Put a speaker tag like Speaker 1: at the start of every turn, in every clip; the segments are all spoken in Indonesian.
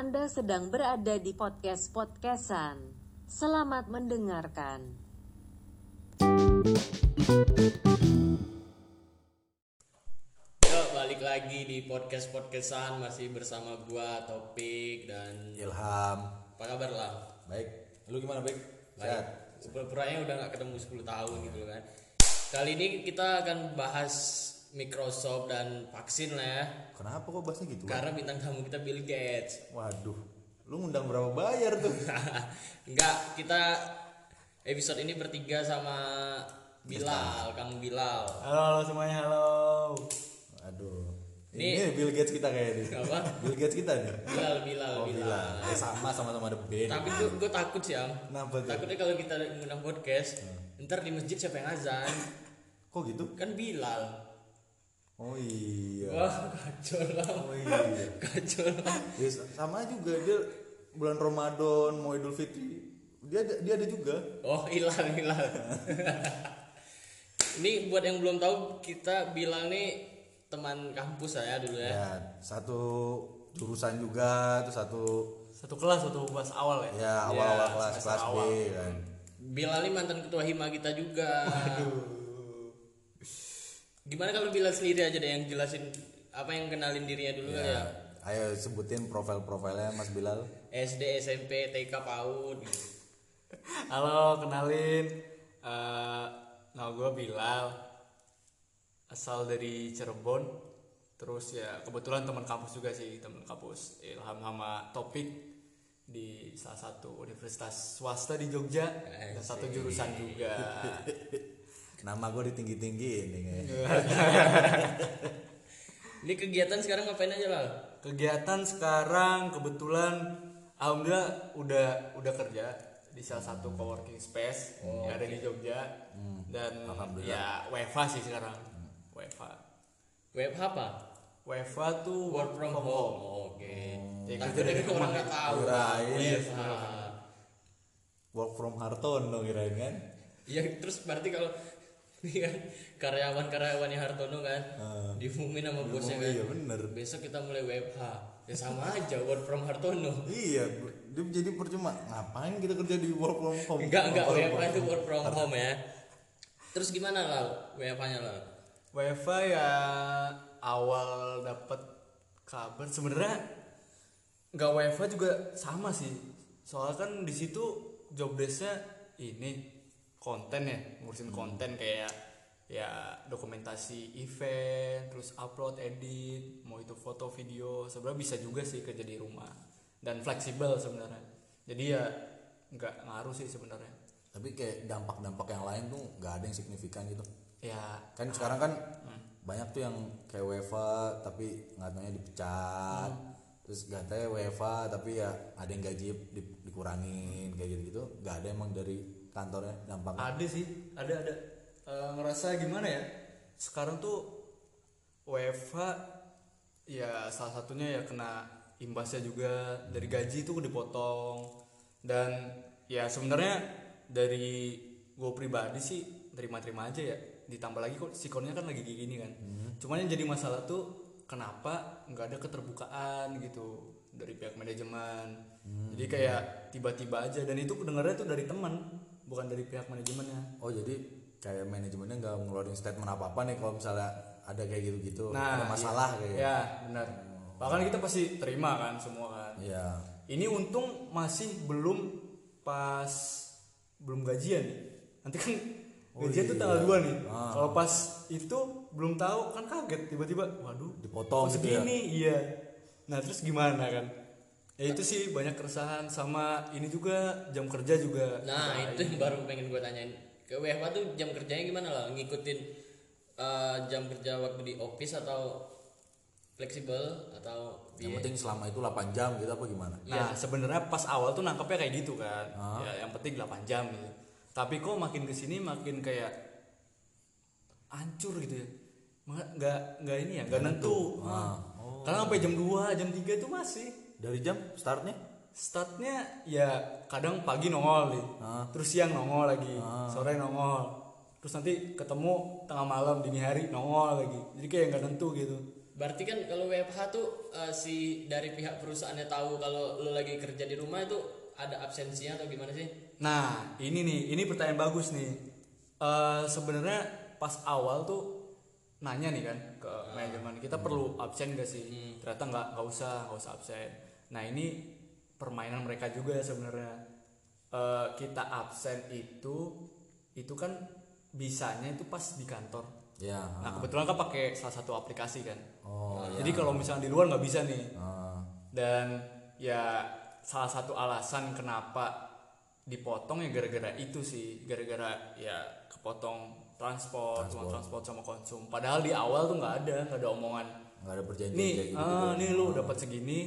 Speaker 1: Anda sedang berada di podcast podcastan. Selamat mendengarkan.
Speaker 2: Yo, balik lagi di podcast podcastan masih bersama gua Topik dan
Speaker 3: Ilham
Speaker 2: apa kabar lah?
Speaker 3: baik lu gimana baik sehat
Speaker 2: Pura-puranya udah nggak ketemu 10 tahun gitu kan. Kali ini kita akan bahas Microsoft dan vaksin lah ya.
Speaker 3: kenapa kok bahasnya gitu
Speaker 2: Karena bintang tamu kita Bill Gates.
Speaker 3: waduh lu ngundang berapa bayar tuh
Speaker 2: Enggak, kita episode ini bertiga sama Bilal, Kang Bilal.
Speaker 4: Halo, halo semuanya, halo.
Speaker 3: aduh
Speaker 2: Ini-
Speaker 3: ini, Bill Gates kita kayaknya nih
Speaker 2: Apa?
Speaker 3: Bill Gates kita nih
Speaker 2: Bilal, Bilal,
Speaker 3: oh
Speaker 2: Bilal.
Speaker 3: Bilal sama sama sama ada B
Speaker 2: Tapi gue takut sih, Am.
Speaker 3: kenapa tuh
Speaker 2: Takutnya kalau kita ngundang podcast, ntar di masjid siapa yang azan?
Speaker 3: kok gitu
Speaker 2: kan Bilal
Speaker 3: oh iya
Speaker 2: wah kacau lah
Speaker 3: oh iya
Speaker 2: kacau lah
Speaker 3: Ya, sama juga dia bulan Ramadan mau Idul Fitri dia ada, dia ada juga
Speaker 2: oh Ilal Ilal ini buat yang belum tahu kita Bilal nih teman kampus saya dulu ya
Speaker 3: ya satu jurusan juga terus satu
Speaker 4: Satu kelas, satu kelas awal ya.
Speaker 3: ya awal-awal
Speaker 2: Ya,
Speaker 3: kelas
Speaker 4: semester
Speaker 3: kelas B
Speaker 4: awal.
Speaker 3: kan
Speaker 2: Bilal nih mantan ketua hima kita juga gimana kalau Bilal sendiri aja deh yang jelasin apa yang kenalin dirinya dulu
Speaker 4: Iya.
Speaker 2: kali ya
Speaker 3: Ayo sebutin profil-profilnya Mas Bilal.
Speaker 2: SD SMP TK PAUD gitu.
Speaker 4: Halo, kenalin. Eh, nama gue Bilal. Asal dari Cirebon. Terus ya kebetulan teman kampus juga sih, teman kampus Ilham sama Topik di salah satu universitas swasta di Jogja dan satu jurusan juga.
Speaker 3: Nama gue ditinggi-tinggi ini kan. kayaknya.
Speaker 4: Iya.
Speaker 2: ini kegiatan sekarang ngapain aja lah
Speaker 4: Kegiatan sekarang kebetulan alhamdulillah udah udah kerja di salah satu coworking space yang ada di Jogja dan ya WFA sih sekarang WFA
Speaker 2: web apa
Speaker 4: WFA tuh
Speaker 2: work from home, oke
Speaker 4: Ya,
Speaker 2: Tapi
Speaker 4: kerja dari
Speaker 2: itu orang nggak tahu
Speaker 3: gitu Kirain.
Speaker 2: Iya.
Speaker 3: Work from Hartono kirain kan.
Speaker 2: Ya terus berarti kalau ini kan karyawan-karyawannya Hartono kan diumumin sama bosnya kan.
Speaker 3: Ah. iya, bener.
Speaker 2: Besok kita mulai WFH. Ya sama aja work from Hartono.
Speaker 3: Iya, bu- dia jadi percuma. Ngapain kita kerja di work from home?
Speaker 2: Enggak enggak
Speaker 3: Work
Speaker 2: WFH
Speaker 3: from
Speaker 2: itu
Speaker 3: home.
Speaker 2: work from home ya. Terus gimana lal WFH-nya lal?
Speaker 4: WFA ya awal dapat kabar sebenarnya nggak WFA juga sama sih soalnya kan di situ job desk-nya ini konten ya ngurusin konten kayak ya dokumentasi event terus upload edit mau itu foto video sebenarnya bisa juga sih kerja di rumah dan fleksibel sebenarnya jadi ya nggak ngaruh sih sebenarnya
Speaker 3: Tapi kayak dampak-dampak yang lain tuh nggak ada yang signifikan gitu.
Speaker 4: ya
Speaker 3: Kan sekarang kan banyak tuh yang kayak WFA tapi nggak taunya dipecat. Terus nggak taunya WFA tapi ya ada yang gaji di- dikurangin kayak gitu-gitu. Nggak ada emang dari kantornya dampaknya.
Speaker 4: Ada sih, ada ada. Eh, ngerasa gimana ya? Sekarang tuh WFH ya salah satunya ya kena imbasnya juga dari gaji itu dipotong dan ya sebenarnya dari gue pribadi sih terima-terima aja ya ditambah lagi kok sikonnya kan lagi kayak gini kan cuman yang jadi masalah tuh kenapa nggak ada keterbukaan gitu dari pihak manajemen
Speaker 3: Hmm.
Speaker 4: jadi kayak tiba-tiba aja dan itu kedengarannya tuh dari teman bukan dari pihak manajemennya
Speaker 3: Oh jadi kayak manajemennya nggak ngeluarin statement apa apa nih kalau misalnya ada kayak gitu-gitu ada
Speaker 4: nah
Speaker 3: masalah gitu
Speaker 4: iya.
Speaker 3: kayak.
Speaker 4: ya benar bahkan kita pasti terima kan semua kan
Speaker 3: Iya.
Speaker 4: ini untung masih belum pas belum gajian nih nanti kan
Speaker 3: Oh,
Speaker 4: gajian
Speaker 3: iya.
Speaker 4: tuh tanggal 2 nih
Speaker 3: Ah.
Speaker 4: kalau pas itu belum tahu kan kaget tiba-tiba waduh
Speaker 3: Dipotong
Speaker 4: kok
Speaker 3: gitu ya.
Speaker 4: segini iya nah terus gimana kan ya itu sih banyak keresahan sama ini juga jam kerja juga
Speaker 2: Nah,
Speaker 3: Iya,
Speaker 2: itu yang baru pengen gue tanyain. Ke WFH tuh jam kerjanya gimana lah? Ngikutin eh, jam kerja waktu di office atau fleksibel atau
Speaker 3: Yang penting selama itu 8 jam gitu apa gimana?
Speaker 4: Nah, sebenarnya pas awal tuh nangkepnya kayak gitu kan. Ya, yang penting 8 jam gitu. Tapi kok makin kesini makin kayak hancur gitu ya. Ma- Nggak nggak ini ya, nggak nentu. Ah. Karena sampai jam 2, jam 3 itu masih
Speaker 3: Dari jam startnya?
Speaker 4: startnya ya kadang pagi nongol nih. Terus siang nongol lagi, sore nongol. Terus nanti ketemu tengah malam dini hari nongol lagi. Jadi kayak nggak nentu gitu.
Speaker 2: Berarti kan kalau WFH tuh eh, si dari pihak perusahaannya tahu kalau lu lagi kerja di rumah itu ada absensinya atau gimana sih?
Speaker 4: Nah, ini nih, ini pertanyaan bagus nih. Eh Sebenarnya pas awal tuh nanya nih kan ke manajemen kita perlu absen gak sih? Ternyata nggak nggak usah, nggak usah absen. Nah ini permainan mereka juga sebenarnya. Eh kita absen itu itu kan bisanya itu pas di kantor.
Speaker 3: ya
Speaker 4: Nah kebetulan kan pakai salah satu aplikasi kan.
Speaker 3: oh
Speaker 4: Jadi kalau misalnya di luar nggak bisa nih
Speaker 3: ah,
Speaker 4: dan ya salah satu alasan kenapa dipotong ya gara-gara itu sih gara-gara ya kepotong transport, uang transport sama konsum padahal di awal tuh nggak ada nggak ada omongan
Speaker 3: nggak ada perjanjian kayak
Speaker 4: nih
Speaker 3: gitu
Speaker 4: ah, nih lu dapat segini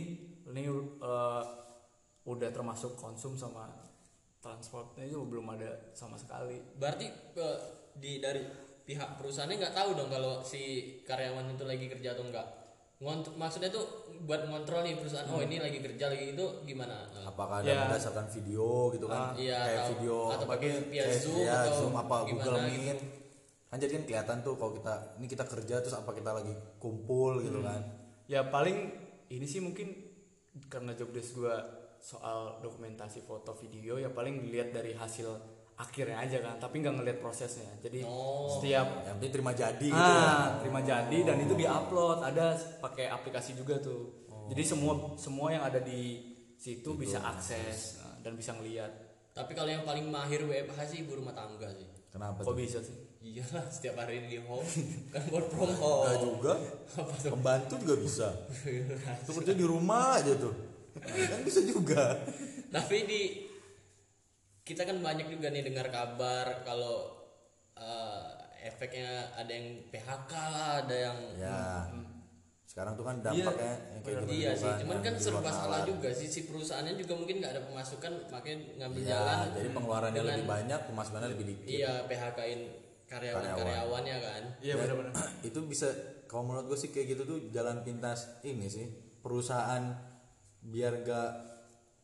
Speaker 4: ini eh, udah termasuk konsum sama transportnya itu belum ada sama sekali
Speaker 2: Berarti eh, di dari pihak perusahaannya nggak tahu dong kalau si karyawan itu lagi kerja atau enggak. Ngont- maksudnya tuh buat ngontrol nih perusahaan. Oh,
Speaker 3: Hmm.
Speaker 2: ini lagi kerja lagi itu gimana? Eh,
Speaker 3: apakah ada
Speaker 4: Ya. Ah,
Speaker 3: berdasarkan video gitu kan
Speaker 2: iya,
Speaker 3: kayak
Speaker 2: atau-
Speaker 3: video gitu.
Speaker 2: atau pakai via
Speaker 3: kayak
Speaker 2: Zoom
Speaker 3: via
Speaker 2: atau
Speaker 3: Zoom apa
Speaker 2: gimana
Speaker 3: Google
Speaker 2: gitu.
Speaker 3: Meet kan jadi kan kelihatan tuh kalau kita ini kita kerja terus apa kita lagi kumpul gitu kan
Speaker 4: ya paling ini sih mungkin karena job desk gue soal dokumentasi foto video ya paling dilihat dari hasil akhirnya aja kan tapi nggak ngelihat prosesnya jadi setiap
Speaker 3: yang penting terima jadi gitu kan
Speaker 4: ah terima jadi dan itu diupload ada pakai aplikasi juga tuh jadi semua semua yang ada di situ bisa akses nah, dan bisa ngelihat
Speaker 2: Tapi kalau yang paling mahir WFH sih ibu rumah tangga sih.
Speaker 3: kenapa tuh?
Speaker 4: kok bisa sih
Speaker 2: Iyalah setiap hari di home kan work from home.
Speaker 3: Enggak juga pembantu juga bisa itu kerja di rumah aja tuh kan bisa juga
Speaker 2: Tapi di kita kan banyak juga nih dengar kabar kalau eh, efeknya ada yang PHK lah, ada yang
Speaker 3: ya sekarang tuh
Speaker 4: Iya.
Speaker 3: kan dampaknya yang kayak gimana
Speaker 2: Iya
Speaker 3: tuh
Speaker 2: sih,
Speaker 3: kan,
Speaker 2: cuman
Speaker 3: yang
Speaker 2: kan
Speaker 3: di luar
Speaker 2: serba salah
Speaker 3: nalar.
Speaker 2: juga sih si perusahaannya juga mungkin nggak ada pemasukan makanya ngambil
Speaker 3: Iya,
Speaker 2: jalan.
Speaker 3: jadi pengeluarannya
Speaker 2: dengan-
Speaker 3: lebih banyak pemasukannya lebih dikit
Speaker 2: Iya PHK-in karyawan-karyawannya kan.
Speaker 4: iya benar-benar
Speaker 3: itu bisa kalau menurut gue sih kayak gitu tuh jalan pintas ini sih perusahaan biar gak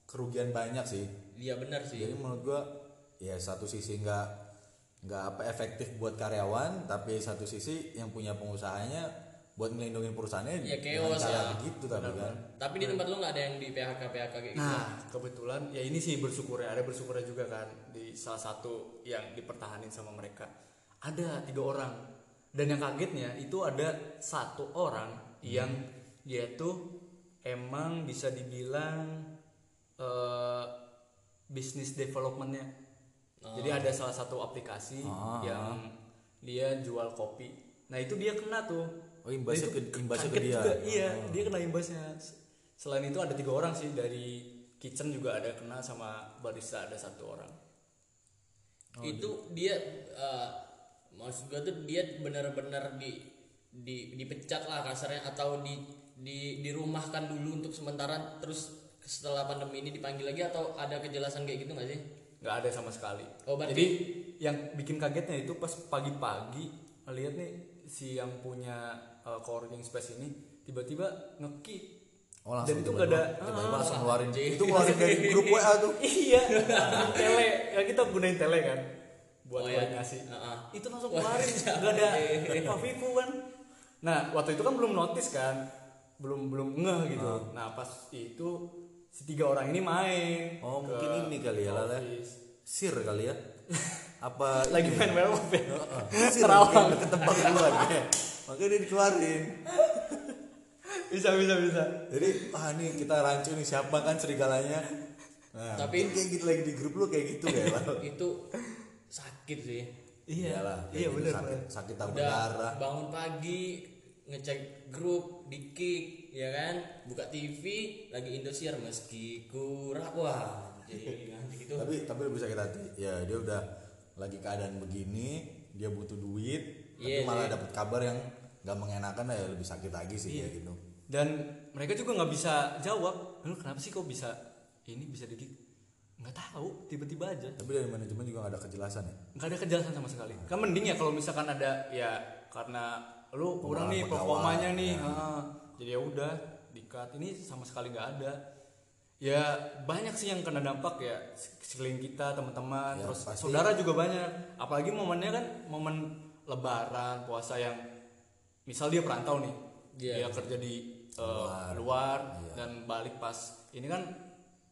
Speaker 3: kerugian banyak sih
Speaker 2: Iya benar sih.
Speaker 3: jadi menurut gue ya satu sisi nggak nggak apa efektif buat karyawan tapi satu sisi yang punya pengusahanya buat ngelindungin perusahaannya
Speaker 2: Ya,
Speaker 3: dengan
Speaker 2: chaos
Speaker 3: cara
Speaker 2: lah.
Speaker 3: begitu tapi kan
Speaker 2: Tapi di tempat lu nggak ada yang di PHK PHK kayak gitu.
Speaker 4: Nah, kebetulan ya ini sih bersyukur ya, ada bersyukurnya juga kan di salah satu yang dipertahanin sama mereka. Ada tiga orang dan yang kagetnya itu ada satu orang yang dia tuh emang bisa dibilang eh bisnis developmentnya. Jadi ada salah satu aplikasi yang dia jual kopi. Nah itu dia kena tuh
Speaker 3: oh imbasnya ke, imbasnya ke
Speaker 4: kaget
Speaker 3: dia Oh.
Speaker 4: juga, iya dia kena imbasnya selain itu ada tiga orang sih dari kitchen juga ada kena sama barista ada satu orang Oh,
Speaker 2: itu dia eh, maksud gua tuh dia benar-benar di di dipecat lah kasarnya atau di di dirumahkan dulu untuk sementara terus setelah pandemi ini dipanggil lagi atau ada kejelasan kayak gitu nggak sih?
Speaker 4: nggak ada sama sekali
Speaker 2: Oh, berarti-
Speaker 4: jadi yang bikin kagetnya itu pas pagi-pagi melihat nih si yang punya uh, co-working space ini tiba-tiba ngeki
Speaker 3: oh langsung
Speaker 4: dan itu nggak
Speaker 3: tiba-tiba-
Speaker 4: ada
Speaker 3: tiba-tiba langsung
Speaker 4: ah,
Speaker 3: ngeluarin itu ngeluarin dari grup WA tuh
Speaker 4: iya tele ya kita gunain tele kan buat
Speaker 2: Oh, iya.
Speaker 4: koordinasi
Speaker 2: Heeh. Iya.
Speaker 4: itu langsung kemarin nggak ada Fafiku kan nah waktu itu kan belum notice kan belum belum ngeh gitu
Speaker 3: Ah.
Speaker 4: nah pas itu si tiga orang ini main
Speaker 3: oh
Speaker 4: ke
Speaker 3: mungkin ini kali ya lala
Speaker 4: office.
Speaker 3: sir kali ya apa
Speaker 4: lagi main werewolf ya
Speaker 3: Sir,
Speaker 4: Terawang.
Speaker 3: udah ketebak duluan ya. Makanya dia dikeluarin.
Speaker 4: bisa bisa bisa
Speaker 3: Jadi, ah nih kita rancu nih siapa kan serigalanya. Nah,
Speaker 2: Tapi-
Speaker 3: Tapi kayak gitu lagi di grup lu kayak gitu ya. Bang.
Speaker 2: Itu sakit sih.
Speaker 4: iya
Speaker 3: Iyalah, kayak
Speaker 4: iya
Speaker 3: gitu,
Speaker 4: benar
Speaker 3: sakit,
Speaker 4: benar.
Speaker 3: sakit tambah darah.
Speaker 2: Udah bangun pagi ngecek grup di kick ya kan buka TV lagi Indosiar meski kurang wah jadi nanti gitu
Speaker 3: Tapi tapi lebih sakit hati. Ya, dia udah lagi keadaan begini, dia butuh duit, tapi
Speaker 2: Iya
Speaker 3: malah dapat kabar yang nggak mengenakan ya lebih sakit lagi sih
Speaker 2: Iya.
Speaker 3: kayak gitu.
Speaker 4: dan mereka juga nggak bisa jawab lu kenapa sih kok bisa ini bisa di nggak tahu tiba-tiba aja
Speaker 3: Tapi dari manajemen juga gak ada kejelasan ya.
Speaker 4: nggak ada kejelasan sama sekali
Speaker 3: Nah.
Speaker 4: kan mending ya kalau misalkan ada ya karena lu kurang nih
Speaker 3: pegawai,
Speaker 4: performanya nih ha. jadi ya udah dikat ini sama sekali nggak ada ya banyak sih yang kena dampak ya sekeliling kita teman-teman
Speaker 3: Ya,
Speaker 4: terus
Speaker 3: pasti.
Speaker 4: saudara juga banyak apalagi momennya kan momen lebaran puasa yang misal dia perantau nih
Speaker 2: Iya.
Speaker 4: dia kerja di eh,
Speaker 3: Luar.
Speaker 4: luar, dan balik pas ini kan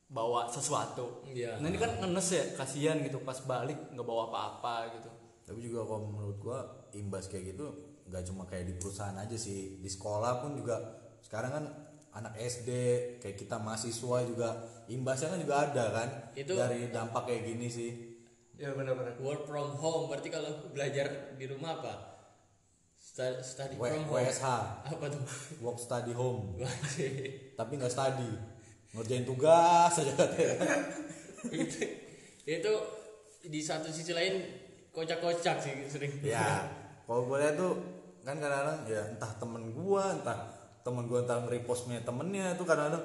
Speaker 4: bawa sesuatu
Speaker 2: Iya.
Speaker 4: nah ini kan ngenes ya kasihan gitu pas balik nggak bawa apa-apa gitu
Speaker 3: tapi juga kalau menurut gua imbas kayak gitu nggak cuma kayak di perusahaan aja sih di sekolah pun juga sekarang kan anak SD kayak kita mahasiswa juga imbasnya kan juga ada kan
Speaker 2: Itu-
Speaker 3: dari dampak kayak gini sih
Speaker 4: ya benar-benar
Speaker 2: Work from home berarti kalau belajar di rumah apa? Stu- Study
Speaker 3: W-
Speaker 2: from home. ya?
Speaker 3: WSH
Speaker 2: Apa tuh?
Speaker 3: work study home
Speaker 2: Wajib.
Speaker 3: tapi nggak study ngerjain tugas aja katanya.
Speaker 2: itu, itu di satu sisi lain kocak-kocak sih sering.
Speaker 3: ya kalau gue lihat tuh kan kadang-kadang ya entah temen gua entah temen gua entah repostnya temennya tuh kadang-kadang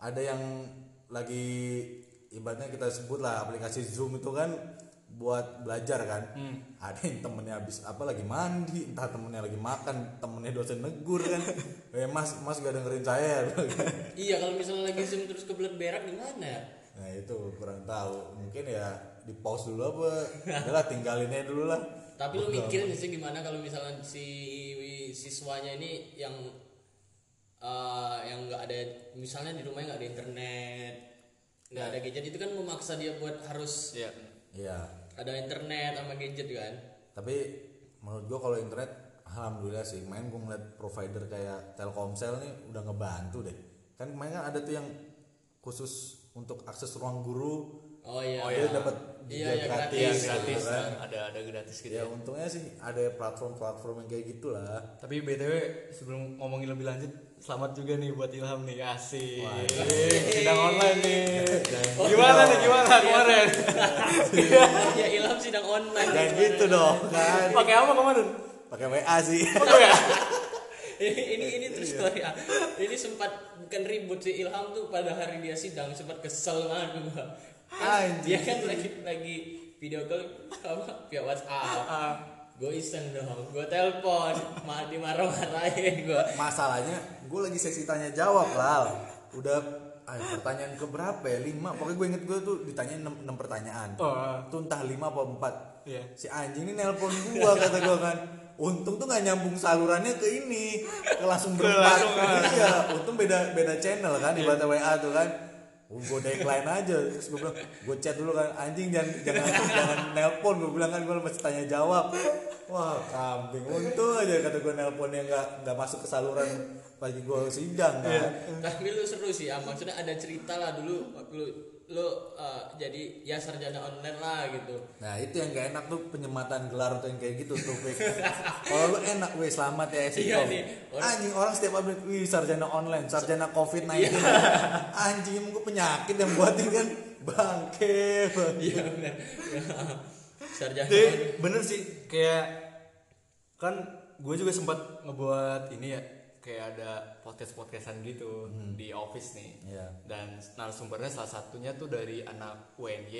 Speaker 3: ada yang lagi ibaratnya kita sebut lah aplikasi zoom itu kan buat belajar kan ada yang temennya habis apa lagi mandi entah temennya lagi makan temennya dosen negur kan eh mas mas gak dengerin saya
Speaker 2: Iya kalau misalnya lagi zoom terus kebelet berak gimana ya?
Speaker 3: nah itu kurang tahu mungkin ya di pause dulu apa adalah tinggalin aja dulu lah
Speaker 2: Tapi lu mikir nggak sih gimana kalau misalnya si siswanya ini yang eh, yang nggak ada misalnya di rumahnya nggak ada internet, nggak ada gadget itu kan memaksa dia buat harus
Speaker 4: ya
Speaker 3: ya
Speaker 2: ada internet sama gadget kan?
Speaker 3: tapi menurut gua kalau internet alhamdulillah sih main gua ngeliat provider kayak Telkomsel nih udah ngebantu deh kan kemarin kan ada tuh yang khusus untuk akses ruang guru
Speaker 2: Oh iya.
Speaker 3: oh, dia dapat
Speaker 2: Iya, iya,
Speaker 3: giga
Speaker 4: Iya,
Speaker 2: Gratis,
Speaker 4: gratis
Speaker 3: gitu kan.
Speaker 4: ada ada gratis gitu
Speaker 3: ya
Speaker 4: ya.
Speaker 3: untungnya sih ada platform-platform yang kayak gitulah
Speaker 4: tapi btw sebelum ngomongin lebih lanjut selamat juga nih buat Ilham nih asik
Speaker 3: Wah,
Speaker 4: sidang online nih
Speaker 3: Jangan
Speaker 4: gimana
Speaker 3: gitu
Speaker 4: nih gimana kemarin
Speaker 2: ya ilham sidang online.
Speaker 3: jangan gitu dong kan
Speaker 4: pakai apa kemarin
Speaker 3: pakai WA sih
Speaker 2: ini ini
Speaker 3: Iya.
Speaker 2: terus story ya. Ini sempat bukan ribut si Ilham tuh pada hari dia sidang sempat kesel banget gua. Kan dia kan lagi lagi video call sama via
Speaker 3: Ah,
Speaker 2: WhatsApp. Gue iseng dong, gue telepon, ma dimarah-marahin gue.
Speaker 3: masalahnya gue lagi sesi tanya jawab lah udah ah, pertanyaan ke berapa ya lima pokoknya gue inget gue tuh ditanya enam, enam pertanyaan
Speaker 4: Oh.
Speaker 3: tuh entah lima apa empat
Speaker 4: Iya.
Speaker 3: si anjing ini nelpon gue kata gue kan untung tuh nggak nyambung salurannya ke ini ke langsung berempat
Speaker 4: langsung, Iya. kan.
Speaker 3: iya untung beda beda channel kan ibaratnya wa tuh kan gue decline aja terus gue bilang gue chat dulu kan anjing jangan jangan jangan nelpon gue bilang kan gue masih tanya jawab wah kambing untung aja kata gue nelpon yang nggak nggak masuk ke saluran pagi gue sidang kan
Speaker 2: Iya. Tapi lu seru sih, Am. maksudnya ada cerita lah dulu waktu lu, lu eh, jadi ya sarjana online lah gitu.
Speaker 3: Nah itu yang gak enak tuh penyematan gelar tuh yang kayak gitu tuh Fik. Kalau lu enak weh selamat ya
Speaker 2: Iya,
Speaker 3: Esikom.
Speaker 2: nih. Orang-
Speaker 3: Anjing orang setiap update wih sarjana online, sarjana covid 19
Speaker 2: Iya.
Speaker 3: Anjing emang gue penyakit yang buatin kan bangke. bangke.
Speaker 2: Iya benar. sarjana.
Speaker 4: Tapi Iya, bener sih kayak kan gue juga sempat ngebuat ini ya kayak ada podcast podcastan gitu di office nih
Speaker 3: Iya.
Speaker 4: dan narasumbernya salah satunya tuh dari anak UNY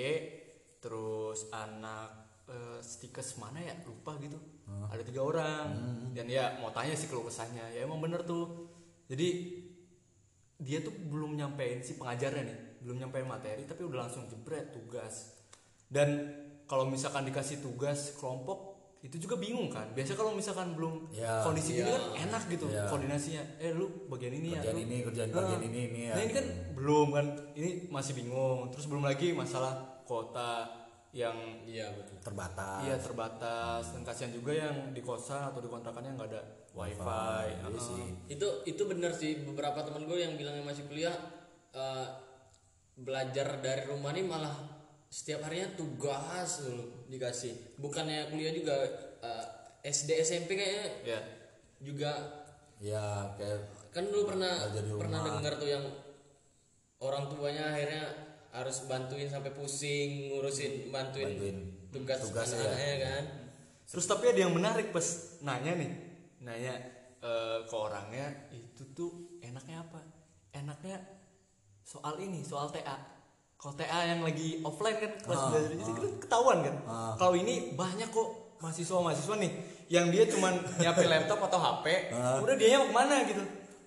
Speaker 4: terus anak eh, stikes mana ya lupa gitu ada tiga orang dan ya mau tanya sih keluh kesahnya ya emang bener tuh jadi dia tuh belum nyampein si pengajarnya nih belum nyampein materi tapi udah langsung jebret tugas dan kalau misalkan dikasih tugas kelompok itu juga bingung kan biasa kalau misalkan belum
Speaker 3: Ya,
Speaker 4: kondisi gini
Speaker 2: iya.
Speaker 4: kan enak gitu
Speaker 3: Ya.
Speaker 4: koordinasinya eh lu bagian ini
Speaker 3: Kerjaan
Speaker 4: ya lu-
Speaker 3: ini, kerjaan
Speaker 4: Nah,
Speaker 3: bagian ini, ini ya.
Speaker 4: nah ini kan belum kan ini masih bingung terus belum lagi masalah kota yang
Speaker 2: Iya betul.
Speaker 3: Terbatas.
Speaker 4: Iya terbatas dan kasihan juga yang di kosan atau di kontrakannya nggak ada wifi.
Speaker 3: Iya
Speaker 4: Heeh.
Speaker 3: sih.
Speaker 2: itu itu bener sih beberapa teman gue yang bilangnya masih kuliah eh, belajar dari rumah nih malah setiap harinya tugas dulu dikasih bukannya kuliah juga eh, SD SMP kayaknya
Speaker 4: Iya.
Speaker 2: juga
Speaker 3: Ya kayak
Speaker 2: kan dulu pernah
Speaker 3: Belajar di rumah.
Speaker 2: pernah dengar tuh yang orang tuanya akhirnya harus bantuin sampai pusing ngurusin bantuin,
Speaker 3: Bantuin
Speaker 2: tugas,
Speaker 3: tugas ya.
Speaker 2: anak-anaknya kan
Speaker 4: Terus tapi ada yang menarik pas nanya nih, nanya eh, ke orangnya itu tuh enaknya apa? Enaknya soal ini, soal TA. Kalau TA yang lagi offline kan kelas
Speaker 3: Ah,
Speaker 4: belajar itu kan ketahuan kan.
Speaker 3: Ah.
Speaker 4: Kalau ini banyak kok mahasiswa-mahasiswa nih yang dia cuman nyiapin laptop atau HP,
Speaker 3: Ah.
Speaker 4: udah dia mau kemana gitu.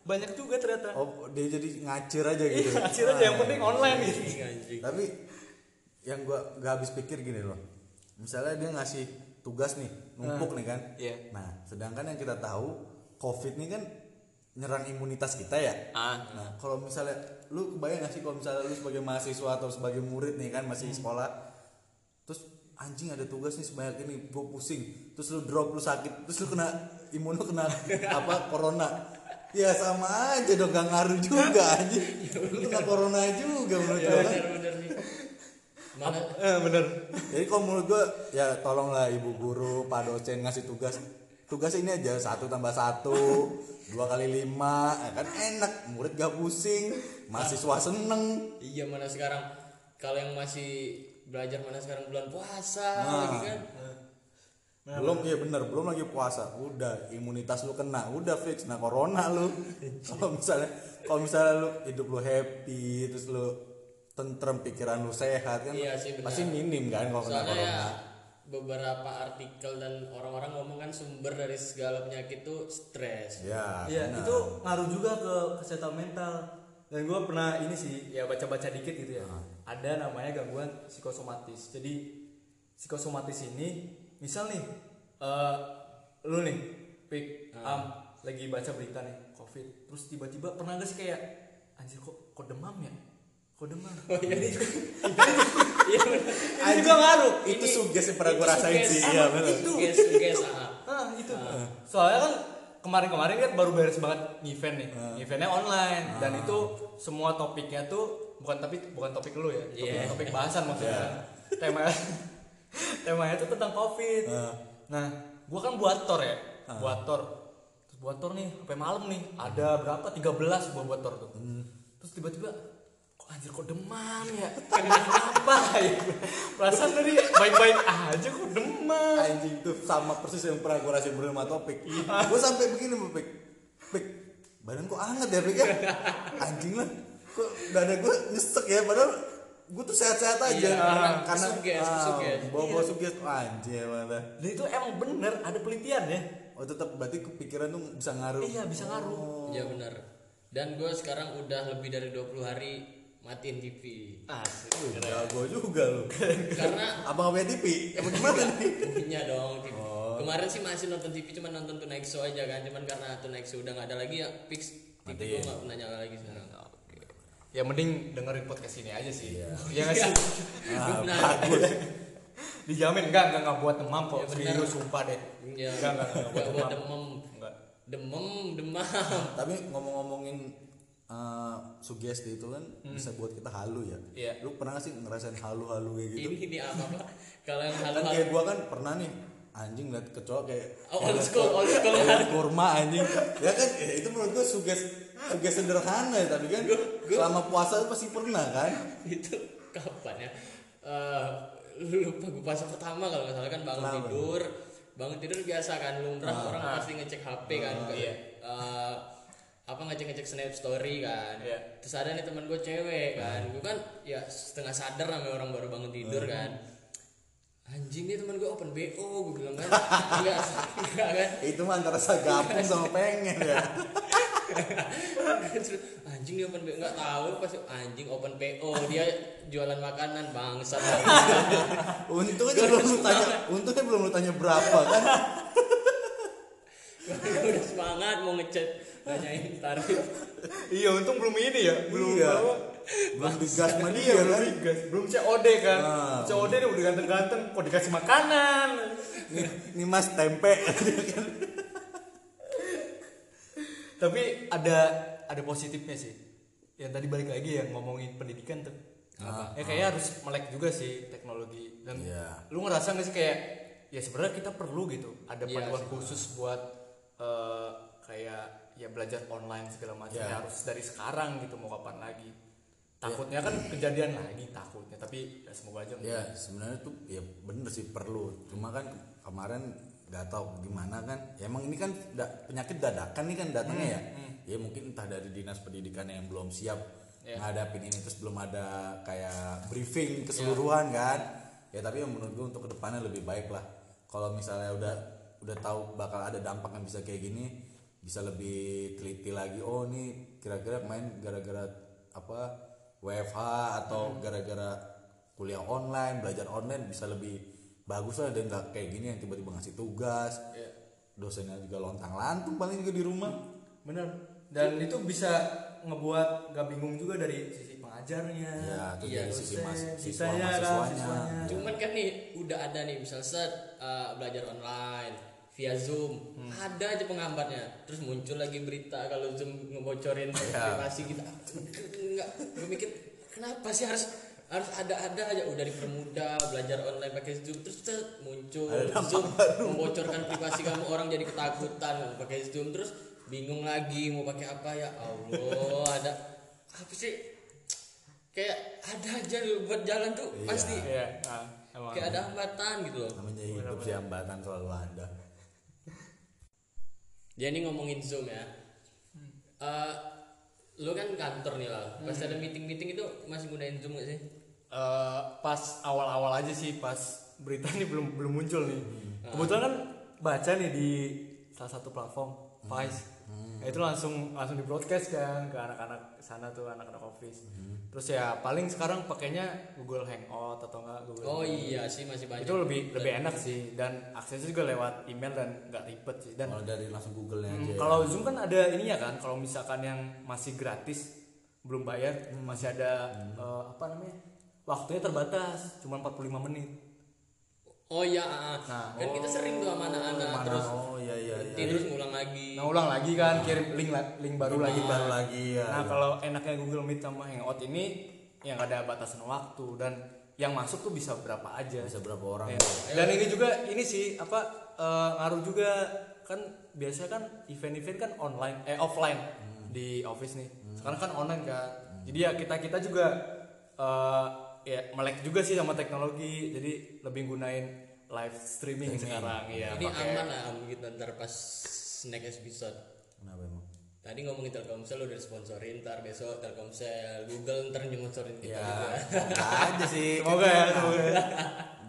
Speaker 4: Banyak juga ternyata.
Speaker 3: oh dia jadi ngacir aja gitu.
Speaker 4: Iya, hasil aja yang
Speaker 3: Ah,
Speaker 4: penting online gitu.
Speaker 2: Iya, anjing.
Speaker 3: tapi yang gua gak habis pikir gini loh misalnya dia ngasih tugas nih numpuk nih kan
Speaker 4: Iya.
Speaker 3: nah sedangkan yang kita tahu covid nih kan nyerang imunitas kita ya
Speaker 2: ah
Speaker 3: Nah, kalau misalnya lu kebayang gak sih kalau misalnya lu sebagai mahasiswa atau sebagai murid nih kan masih
Speaker 4: Hmm.
Speaker 3: sekolah, terus anjing ada tugas nih sebanyak ini, gue pusing, terus lu drop, lu sakit, terus lu kena imun lu kena apa corona, ya sama aja dong gak ngaruh juga anjing, lu kena corona juga menurut gue. kan.
Speaker 2: bener nih malah
Speaker 4: eh, bener
Speaker 3: Jadi kalau menurut gue ya tolonglah ibu guru, pak dosen ngasih tugas, tugas ini aja satu tambah satu, dua kali lima, ya kan enak, murid gak pusing, mahasiswa seneng.
Speaker 2: iya mana sekarang kalau yang masih belajar mana sekarang bulan puasa
Speaker 3: Nah,
Speaker 2: lagi kan Nah,
Speaker 3: belum iya bener belum lagi puasa udah imunitas lu kena udah fix nah corona lu kalau misalnya kalau misalnya lu hidup lu happy terus lu tentrem pikiran lu sehat kan
Speaker 2: Iya sih, benar.
Speaker 3: pasti minim kan kalau kena
Speaker 2: soalnya
Speaker 3: corona
Speaker 2: ya beberapa artikel dan orang-orang ngomong kan sumber dari segala penyakit tuh stres iya,
Speaker 3: ya,
Speaker 4: ya
Speaker 3: benar.
Speaker 4: itu ngaruh juga ke kesehatan mental dan gue pernah ini sih ya baca-baca dikit gitu ya ada namanya gangguan psikosomatis jadi psikosomatis ini misal nih eh, lu nih pik am lagi baca berita nih covid terus tiba-tiba pernah gak sih kayak anjir kok kok demam ya kok demam
Speaker 3: Oh, iya.
Speaker 4: jadi
Speaker 3: Anjing,
Speaker 4: juga ngaruh.
Speaker 3: Iya. itu
Speaker 2: Ini-
Speaker 3: suges yang pernah
Speaker 2: itu
Speaker 3: gue rasain
Speaker 2: suges.
Speaker 3: sih
Speaker 2: Sama
Speaker 3: iya benar
Speaker 2: itu guys guys ah.
Speaker 4: Ah, itu. Soalnya kan kemarin-kemarin kan baru beres banget event nih.
Speaker 2: Nah.
Speaker 4: Eventnya online dan itu semua topiknya tuh bukan tapi bukan topik lu ya. Topik,
Speaker 2: Iya.
Speaker 4: topik bahasan maksudnya. Tema temanya tuh tentang Covid.
Speaker 3: Ah.
Speaker 4: Nah, gua kan buat tor ya.
Speaker 2: Nah.
Speaker 4: Buat tor. Terus buat tor nih sampai malam nih. Ada berapa? 13 gua buat tor tuh.
Speaker 2: Hmm.
Speaker 4: Terus tiba-tiba kok anjir kok demam ya? Kenapa ya? Perasaan tadi baik-baik aja kok demam.
Speaker 3: anjing itu sama persis yang pernah gue rasain bersama topik gue sampai begini sama pik pik badan kok anget ya pik ya anjing lah kok dada gue nyesek ya padahal gue tuh sehat-sehat aja
Speaker 2: Iya,
Speaker 3: karena
Speaker 2: suges,
Speaker 3: ah,
Speaker 2: suges.
Speaker 3: bawa-bawa
Speaker 4: Iya.
Speaker 3: suges anjir mana
Speaker 4: Dan Nah, itu emang bener ada penelitian ya.
Speaker 3: oh tetap berarti kepikiran tuh bisa ngaruh
Speaker 4: Iya bisa ngaruh.
Speaker 2: ya benar dan gue sekarang udah lebih dari 20 hari matiin TV
Speaker 4: Asik.
Speaker 3: Wih, jago juga lu
Speaker 2: karena
Speaker 3: abang apa TV emang gimana nih
Speaker 2: punya dong TV.
Speaker 3: Oh.
Speaker 2: kemarin sih masih nonton TV cuman nonton Tonight Show aja kan cuman karena Tonight Show udah nggak ada lagi ya fix TV
Speaker 3: Mati
Speaker 2: gue
Speaker 3: ya.
Speaker 2: nggak pernah nyala lagi sekarang
Speaker 3: Iya,
Speaker 4: Ya mending dengerin podcast ini aja sih. Ya nggak sih.
Speaker 2: Gue
Speaker 3: ah,
Speaker 2: benar.
Speaker 3: bagus
Speaker 4: Dijamin enggak enggak enggak buat demam kok.
Speaker 2: Ya, bener.
Speaker 4: Serius sumpah deh.
Speaker 2: ya
Speaker 4: Enggak enggak enggak Iya. buat
Speaker 2: nggak buat
Speaker 4: demam.
Speaker 2: demam
Speaker 4: Enggak.
Speaker 2: demam demam
Speaker 3: tapi ngomong-ngomongin eh, sugesti itu kan bisa buat kita halu ya.
Speaker 4: Hmm. Iya.
Speaker 3: Lu pernah gak sih ngerasain halu-halu kayak gitu?
Speaker 2: ini ini apa pak kalau yang
Speaker 3: kan kayak
Speaker 2: hal-hal
Speaker 3: gua kan pernah nih anjing liat kecoa kayak
Speaker 2: Oh, old school, old school.
Speaker 3: kayak kurma anjing iya. ya kan ya itu menurut gua suges suges sederhana ya tapi kan selama puasa pasti pernah kan
Speaker 2: itu kapan ya Eh, lu lupa gue puasa pertama kalau nggak salah kan bangun
Speaker 3: Kenapa?
Speaker 2: tidur bangun tidur biasa kan lumrah orang pasti ngecek HP kan kayak eh, apa ngecek ngecek snap story kan
Speaker 4: Iya.
Speaker 2: terus ada nih teman gue cewek kan gue kan ya setengah sadar namanya orang baru bangun tidur kan anjing nih teman gue open bo gue bilang kan enggak enggak kan
Speaker 3: itu mah antara sagapung sama pengen ya
Speaker 2: Terus, anjing dia open PO nggak tahu pas anjing open PO dia jualan makanan bangsa
Speaker 3: untungnya belum lu tanya untungnya belum lu tanya berapa kan
Speaker 2: udah semangat mau ngechat nanyain tarif
Speaker 4: Iya untung belum ini ya. Belum
Speaker 3: Iya.
Speaker 4: bawa.
Speaker 3: belum digas sama dia
Speaker 4: Iya belum
Speaker 3: kan
Speaker 4: digas. Belum COD kan.
Speaker 3: Ah.
Speaker 4: COD dia udah ganteng-ganteng kok dikasih makanan.
Speaker 3: nih, nih mas tempe
Speaker 4: Tapi ada ada positifnya sih. Yang tadi balik lagi ya ngomongin pendidikan tuh.
Speaker 3: Ah,
Speaker 4: ya kayaknya harus melek juga sih teknologi dan
Speaker 3: Iya.
Speaker 4: lu ngerasa nggak sih kayak ya sebenarnya kita perlu gitu ada
Speaker 2: Iya
Speaker 4: panduan
Speaker 2: sih.
Speaker 4: khusus buat eh, kayak ya belajar online segala macam
Speaker 3: Iya.
Speaker 4: Ya harus dari sekarang gitu mau kapan lagi takutnya kan kejadian lagi takutnya tapi ya semoga aja
Speaker 3: ya
Speaker 4: enggak.
Speaker 3: sebenarnya tuh ya bener sih perlu cuma kan kemarin nggak tahu gimana kan ya, emang ini kan da- penyakit dadakan nih kan datangnya ya ya mungkin entah dari dinas pendidikan yang belum siap ngadapin ini terus belum ada kayak briefing keseluruhan kan ya tapi yang menurut gue untuk kedepannya lebih baik lah kalau misalnya udah udah tahu bakal ada dampak yang bisa kayak gini bisa lebih teliti lagi oh nih kira-kira main gara-gara apa WFH atau gara-gara kuliah online, belajar online bisa lebih bagus lah dan nggak kayak gini yang tiba-tiba ngasih tugas. Dosennya juga lontang lantung paling juga di rumah.
Speaker 4: bener dan itu bisa ngebuat gak bingung juga dari sisi pengajarnya
Speaker 3: ya itu
Speaker 2: Iya,
Speaker 3: dari sisi mas, siswa
Speaker 4: dosen, sisanya kan,
Speaker 3: mahasiswanya
Speaker 4: siswanya.
Speaker 3: Iya.
Speaker 2: Cuman kan nih udah ada nih misal set uh, belajar online via Zoom ada aja pengambatnya terus muncul lagi berita kalau Zoom ngebocorin privasi gitu. Ah, kita nggak gue mikir kenapa sih harus harus ada-ada aja udah dipermudah belajar online pakai Zoom terus set, muncul Zoom membocorkan privasi kamu orang jadi ketakutan pakai Zoom terus bingung lagi mau pakai apa ya Allah ada apa sih kayak ada aja loh buat jalan tuh pasti
Speaker 4: Iya, ah, emang.
Speaker 2: kayak ada hambatan gitu loh
Speaker 3: namanya hidup sih hambatan selalu ada
Speaker 2: dia ini ngomongin zoom ya Eh lo kan kantor nih lah pas ada meeting meeting itu masih gunain zoom gak sih
Speaker 4: Hmm. Eh, pas awal-awal aja sih pas berita ini belum belum muncul nih
Speaker 2: Hmm.
Speaker 4: kebetulan kan baca nih di salah satu platform
Speaker 2: Hmm.
Speaker 4: Vice Nah, itu langsung langsung di broadcast kan ke anak-anak sana tuh anak-anak office
Speaker 2: Hmm.
Speaker 4: terus ya paling sekarang pakainya Google Hangout atau enggak Google
Speaker 2: oh
Speaker 4: Meet.
Speaker 2: iya sih masih banyak
Speaker 4: itu lebih lebih enak sih dan aksesnya juga lewat email dan nggak ribet sih
Speaker 2: Oh,
Speaker 4: dan
Speaker 3: kalau dari langsung Google nya
Speaker 4: Hmm,
Speaker 3: aja
Speaker 4: Kalau Zoom kan ada ininya kan, kalau misalkan yang masih gratis belum bayar, masih ada eh, apa namanya? Waktunya terbatas, cuma 45 menit.
Speaker 2: oh iya ah, ah.
Speaker 4: Nah,
Speaker 2: kan kita sering tuh sama anak-anak
Speaker 3: Mana-
Speaker 2: terus
Speaker 3: oh iya iya iya.
Speaker 2: berhenti terus ngulang lagi
Speaker 4: Nah, ulang lagi kan, kirim link la- link baru lagi.
Speaker 3: baru lagi ya
Speaker 4: Nah, kalau enaknya Google Meet sama Hangout ini yang nggak ada batasan waktu dan yang masuk tuh bisa berapa aja.
Speaker 3: bisa berapa orang
Speaker 4: Ya. Dan ini juga ini sih apa eh, ngaruh juga kan biasanya kan event-event kan online eh offline di office nih. Sekarang kan online kan. Jadi ya kita kita juga eh, ya melek juga sih sama teknologi. Jadi lebih gunain live streaming sekarang ya.
Speaker 2: ini
Speaker 4: pakai-
Speaker 2: aman lah om kita ntar pas snack episode
Speaker 3: kenapa emang Ya,
Speaker 2: tadi ngomongin Telkomsel udah sponsorin ntar besok Telkomsel Google ntar nyumonsorin kita
Speaker 4: Iya.
Speaker 3: ya
Speaker 2: juga
Speaker 3: semoga aja sih
Speaker 4: Semoga ya, semoga.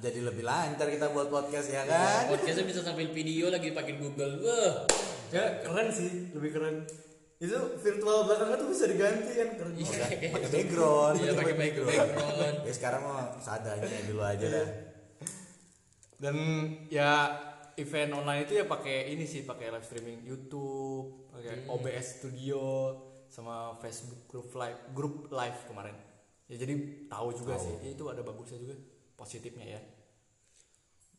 Speaker 3: jadi lebih lancar kita buat podcast ya kan
Speaker 2: podcastnya bisa sambil video lagi pakai Google wah
Speaker 4: Ya keren sih, lebih keren. Itu virtual belakangnya tuh bisa diganti kan keren.
Speaker 2: Iya, kayak
Speaker 3: pakai background
Speaker 2: Iya, pakai background.
Speaker 3: ya sekarang mau seadanya dulu aja dah
Speaker 4: dan ya event online itu ya pakai ini sih pakai live streaming YouTube pakai OBS Studio sama Facebook grup live grup live kemarin ya jadi tahu juga sih Ya, itu ada bagusnya juga positifnya ya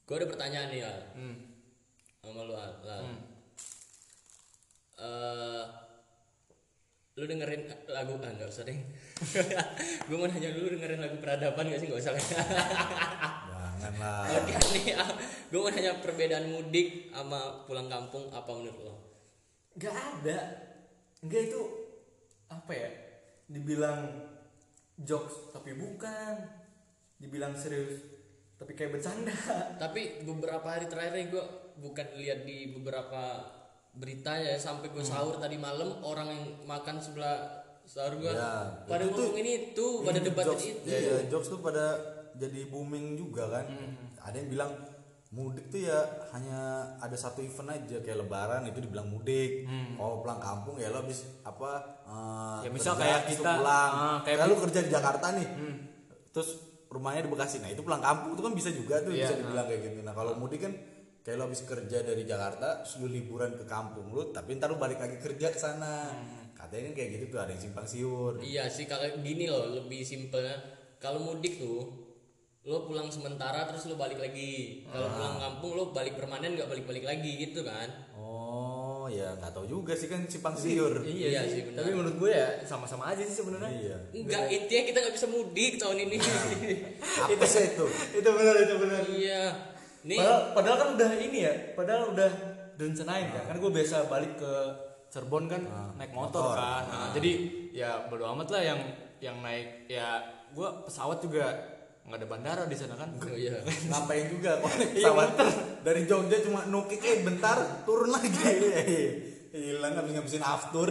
Speaker 2: Gue ada pertanyaan nih Al
Speaker 4: hmm.
Speaker 2: sama lu Al. Al. Eh, lu dengerin lagu ah nggak usah deh. gue mau nanya dulu dengerin lagu peradaban gak sih nggak usah.
Speaker 3: jangan lah
Speaker 2: Oke nih gue mau nanya perbedaan mudik sama pulang kampung apa menurut lo?
Speaker 4: Gak ada Enggak itu Apa ya Dibilang jokes tapi bukan Dibilang serius Tapi kayak bercanda
Speaker 2: Tapi beberapa hari terakhir gue bukan lihat di beberapa berita ya sampai gue
Speaker 3: Hmm.
Speaker 2: sahur tadi malam orang yang makan sebelah sahur gue
Speaker 3: Ya,
Speaker 2: pada
Speaker 3: itu tuh-
Speaker 2: ngomongin itu pada
Speaker 3: Ini
Speaker 2: debatin
Speaker 3: jokes,
Speaker 2: itu.
Speaker 3: iya, iya, jokes tuh pada jadi booming juga kan
Speaker 4: Hmm.
Speaker 3: ada yang bilang mudik tuh ya hanya ada satu event aja kayak lebaran itu dibilang mudik kalau pulang kampung ya lo habis apa eh,
Speaker 4: Hmm. Ya, misal
Speaker 3: kerja,
Speaker 4: kayak
Speaker 3: habis itu
Speaker 4: kita,
Speaker 3: pulang
Speaker 4: ah, kayak Hmm.
Speaker 3: kayak, lu kerja di Jakarta nih terus rumahnya di Bekasi nah itu pulang kampung tuh kan bisa juga tuh
Speaker 4: Iya,
Speaker 3: bisa dibilang kayak gitu nah kalau mudik kan kayak lo habis kerja dari Jakarta terus lu liburan ke kampung lu tapi ntar lu balik lagi kerja ke sana
Speaker 4: Hmm.
Speaker 3: katanya kan kayak gitu tuh ada yang simpang siur
Speaker 2: Iya sih kalau gini loh lebih simpelnya kalau mudik tuh lo pulang sementara terus lo balik lagi kalau
Speaker 3: Ah.
Speaker 2: pulang kampung lo balik permanen nggak balik balik lagi gitu kan
Speaker 3: Oh, ya nggak tahu juga sih kan simpang siur.
Speaker 2: Iya sih, benar.
Speaker 4: Tapi menurut gue ya sama-sama aja sih sebenarnya
Speaker 3: Iya.
Speaker 2: nggak intinya kita nggak bisa mudik tahun ini
Speaker 3: Apa sih itu?
Speaker 4: itu benar itu benar
Speaker 2: iya nih
Speaker 4: padahal, padahal kan udah ini ya padahal udah direncanain kan kan gue biasa balik ke Cirebon kan naik motor,
Speaker 3: motor.
Speaker 4: kan Nah, jadi ya bodo amat lah yang yang naik ya gue pesawat juga nggak ada bandara di sana kan
Speaker 2: oh, iya
Speaker 3: Ngapain juga kalau naik
Speaker 4: Iya,
Speaker 3: pesawat dari Jogja cuma nukik eh bentar turun lagi.
Speaker 4: Iya,
Speaker 3: Hilang habis ngabisin aftur.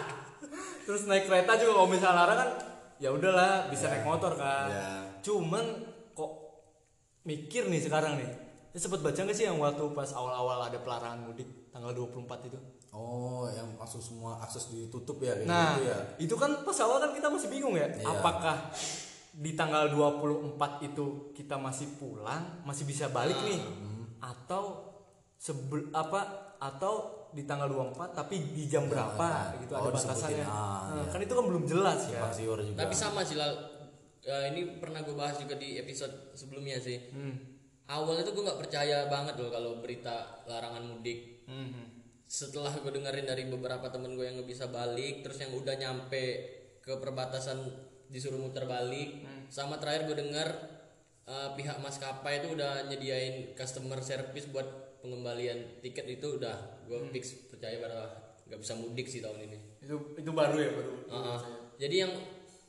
Speaker 4: terus naik kereta juga kalau misalnya larang kan ya udahlah bisa naik motor kan
Speaker 3: Ya.
Speaker 4: cuman kok mikir nih sekarang nih ya, sempet baca gak sih yang waktu pas awal-awal ada pelarangan mudik tanggal 24 itu
Speaker 3: Oh, yang langsung semua akses ditutup ya kayak
Speaker 4: Nah,
Speaker 3: gitu ya.
Speaker 4: itu kan pas awal kan kita masih bingung ya,
Speaker 3: Iya.
Speaker 4: apakah di tanggal 24 itu kita masih
Speaker 3: Hmm.
Speaker 4: pulang, masih bisa balik nih atau sebel apa atau di tanggal 24 tapi di jam berapa
Speaker 3: nah.
Speaker 4: gitu
Speaker 3: Oh,
Speaker 4: ada
Speaker 3: disebutin.
Speaker 4: batasannya.
Speaker 3: Ah,
Speaker 4: Nah,
Speaker 3: iya.
Speaker 4: Kan itu kan belum jelas ya.
Speaker 3: simpang siur juga
Speaker 2: Tapi sama sih Lal. Eh, ini pernah gue bahas juga di episode sebelumnya sih.
Speaker 4: Hmm,
Speaker 2: Awalnya tuh gue nggak percaya banget loh kalau berita larangan mudik.
Speaker 4: Mhm.
Speaker 2: Setelah gue dengerin dari beberapa temen gue yang nggak bisa balik, terus yang udah nyampe ke perbatasan disuruh muter balik, sama terakhir gue denger eh, pihak maskapai itu udah nyediain customer service buat pengembalian tiket itu udah gue fix percaya bahwa nggak bisa mudik sih tahun ini.
Speaker 4: Itu itu baru ya baru.
Speaker 2: Heeh. Jadi yang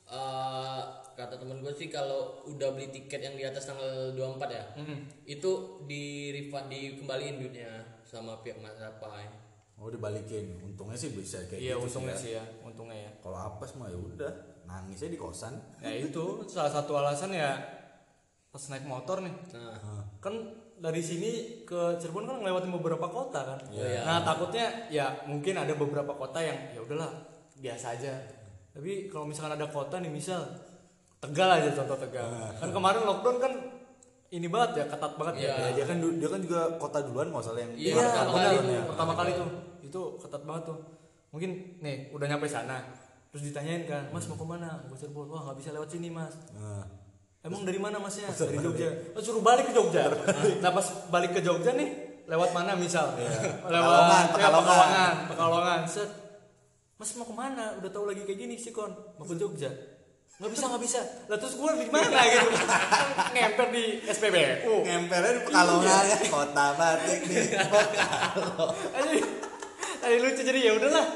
Speaker 2: eh, kata temen gue sih kalau udah beli tiket yang di atas tanggal 24 ya, itu di refund dikembaliin duitnya sama pihak maskapai.
Speaker 3: oh dibalikin untungnya sih bisa kayak
Speaker 4: Iya
Speaker 3: gitu
Speaker 4: untungnya
Speaker 3: sih ya.
Speaker 4: sih ya, untungnya ya.
Speaker 3: kalau apes mah ya udah nangisnya di kosan
Speaker 4: Ya itu salah satu alasan ya pas naik motor nih.
Speaker 2: Nah,
Speaker 4: Kan dari sini ke Cirebon kan ngelewatin beberapa kota kan.
Speaker 2: Iya.
Speaker 4: Nah, takutnya ya mungkin ada beberapa kota yang ya udahlah biasa aja. Tapi kalau misalkan ada kota nih misal Tegal aja contoh Tegal.
Speaker 2: Ah.
Speaker 4: Kan kemarin lockdown kan ini banget ya, ketat banget ya.
Speaker 2: Iya.
Speaker 3: ya, dia kan du- dia kan juga kota duluan nggak salah yang ya.
Speaker 2: Iya,
Speaker 4: Iya,
Speaker 2: pertama
Speaker 4: benar.
Speaker 2: kali tuh.
Speaker 4: pertama kali
Speaker 3: Nah.
Speaker 4: tuh. Itu ketat banget tuh. Mungkin nih udah nyampe sana. Terus ditanyain kan, "Mas mau kemana?" Gue Cirebon. "Wah, nggak bisa lewat sini, Mas."
Speaker 3: Nah,
Speaker 4: Emang dari mana masnya? Dari Jogja. Oh, suruh balik ke Jogja. Nah, pas balik ke Jogja nih, lewat mana misal?
Speaker 3: Iya. Pekalongan,
Speaker 4: lewat ya,
Speaker 3: Pekalongan.
Speaker 4: Pekalongan, Pekalongan. Set. Mas mau kemana? Udah tahu lagi kayak gini sih kon. Mau ke Jogja. Nggak bisa, nggak bisa. Lah terus gue di mana gitu? Ngemper di SPBU.
Speaker 3: ngempernya di Pekalongan
Speaker 2: Iya.
Speaker 3: ya kota batik nih
Speaker 4: Aduh, Tadi lucu jadi ya udahlah.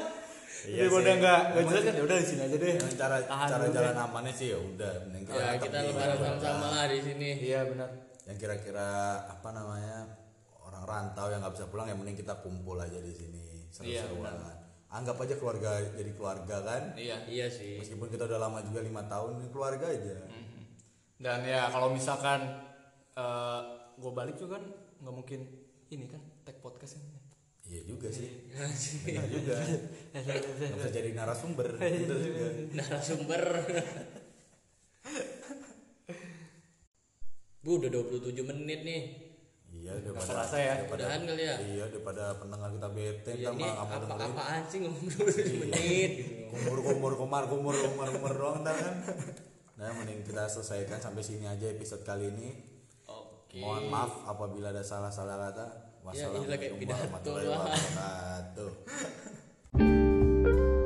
Speaker 3: Iya
Speaker 4: Iya, udah
Speaker 3: sih.
Speaker 4: nggak nggak jelas kan? Ya udah di sini aja deh. Ah,
Speaker 3: Dengan cara
Speaker 4: Tahan
Speaker 3: cara
Speaker 4: dulu
Speaker 3: jalan
Speaker 4: deh.
Speaker 3: amannya sih ya udah mending
Speaker 2: ya
Speaker 4: Ah,
Speaker 3: tetap
Speaker 2: kita
Speaker 3: di-
Speaker 2: lebaran sama-sama lah di sini.
Speaker 4: Iya benar.
Speaker 3: yang kira-kira apa namanya orang rantau yang nggak bisa pulang ya mending kita kumpul aja di sini
Speaker 2: Iya,
Speaker 3: seru-seruan anggap aja keluarga jadi keluarga kan
Speaker 4: Iya.
Speaker 2: Iya sih.
Speaker 3: meskipun kita udah lama juga lima tahun ini keluarga aja
Speaker 4: Dan ya kalau misalkan gue balik juga kan nggak mungkin ini kan tag podcast ini.
Speaker 3: iya juga sih
Speaker 2: Anjing.
Speaker 3: juga nggak bisa jadi narasumber
Speaker 2: Iya,
Speaker 3: Bener juga.
Speaker 2: Narasumber. Bu udah 27 menit nih.
Speaker 3: iya
Speaker 4: kerasa ya.
Speaker 3: daripada
Speaker 2: Udahan kali ya.
Speaker 3: iya daripada pendengar kita bete
Speaker 2: Ya,
Speaker 4: iya,
Speaker 3: ntar
Speaker 2: ini
Speaker 3: malah nggak mau dengerin
Speaker 2: apa-apaan sih ngomong 27 menit. gitu.
Speaker 3: kumur kumur kumar kumur kumar kumur doang ntar kan nah mending kita selesaikan sampai sini aja episode kali ini
Speaker 2: Oke.
Speaker 3: mohon maaf apabila ada salah salah
Speaker 2: Ya,
Speaker 3: kata
Speaker 2: iya, kayak
Speaker 3: wassalamualaikum
Speaker 2: pidato
Speaker 3: warahmatullahi
Speaker 2: lah.
Speaker 3: wabarakatuh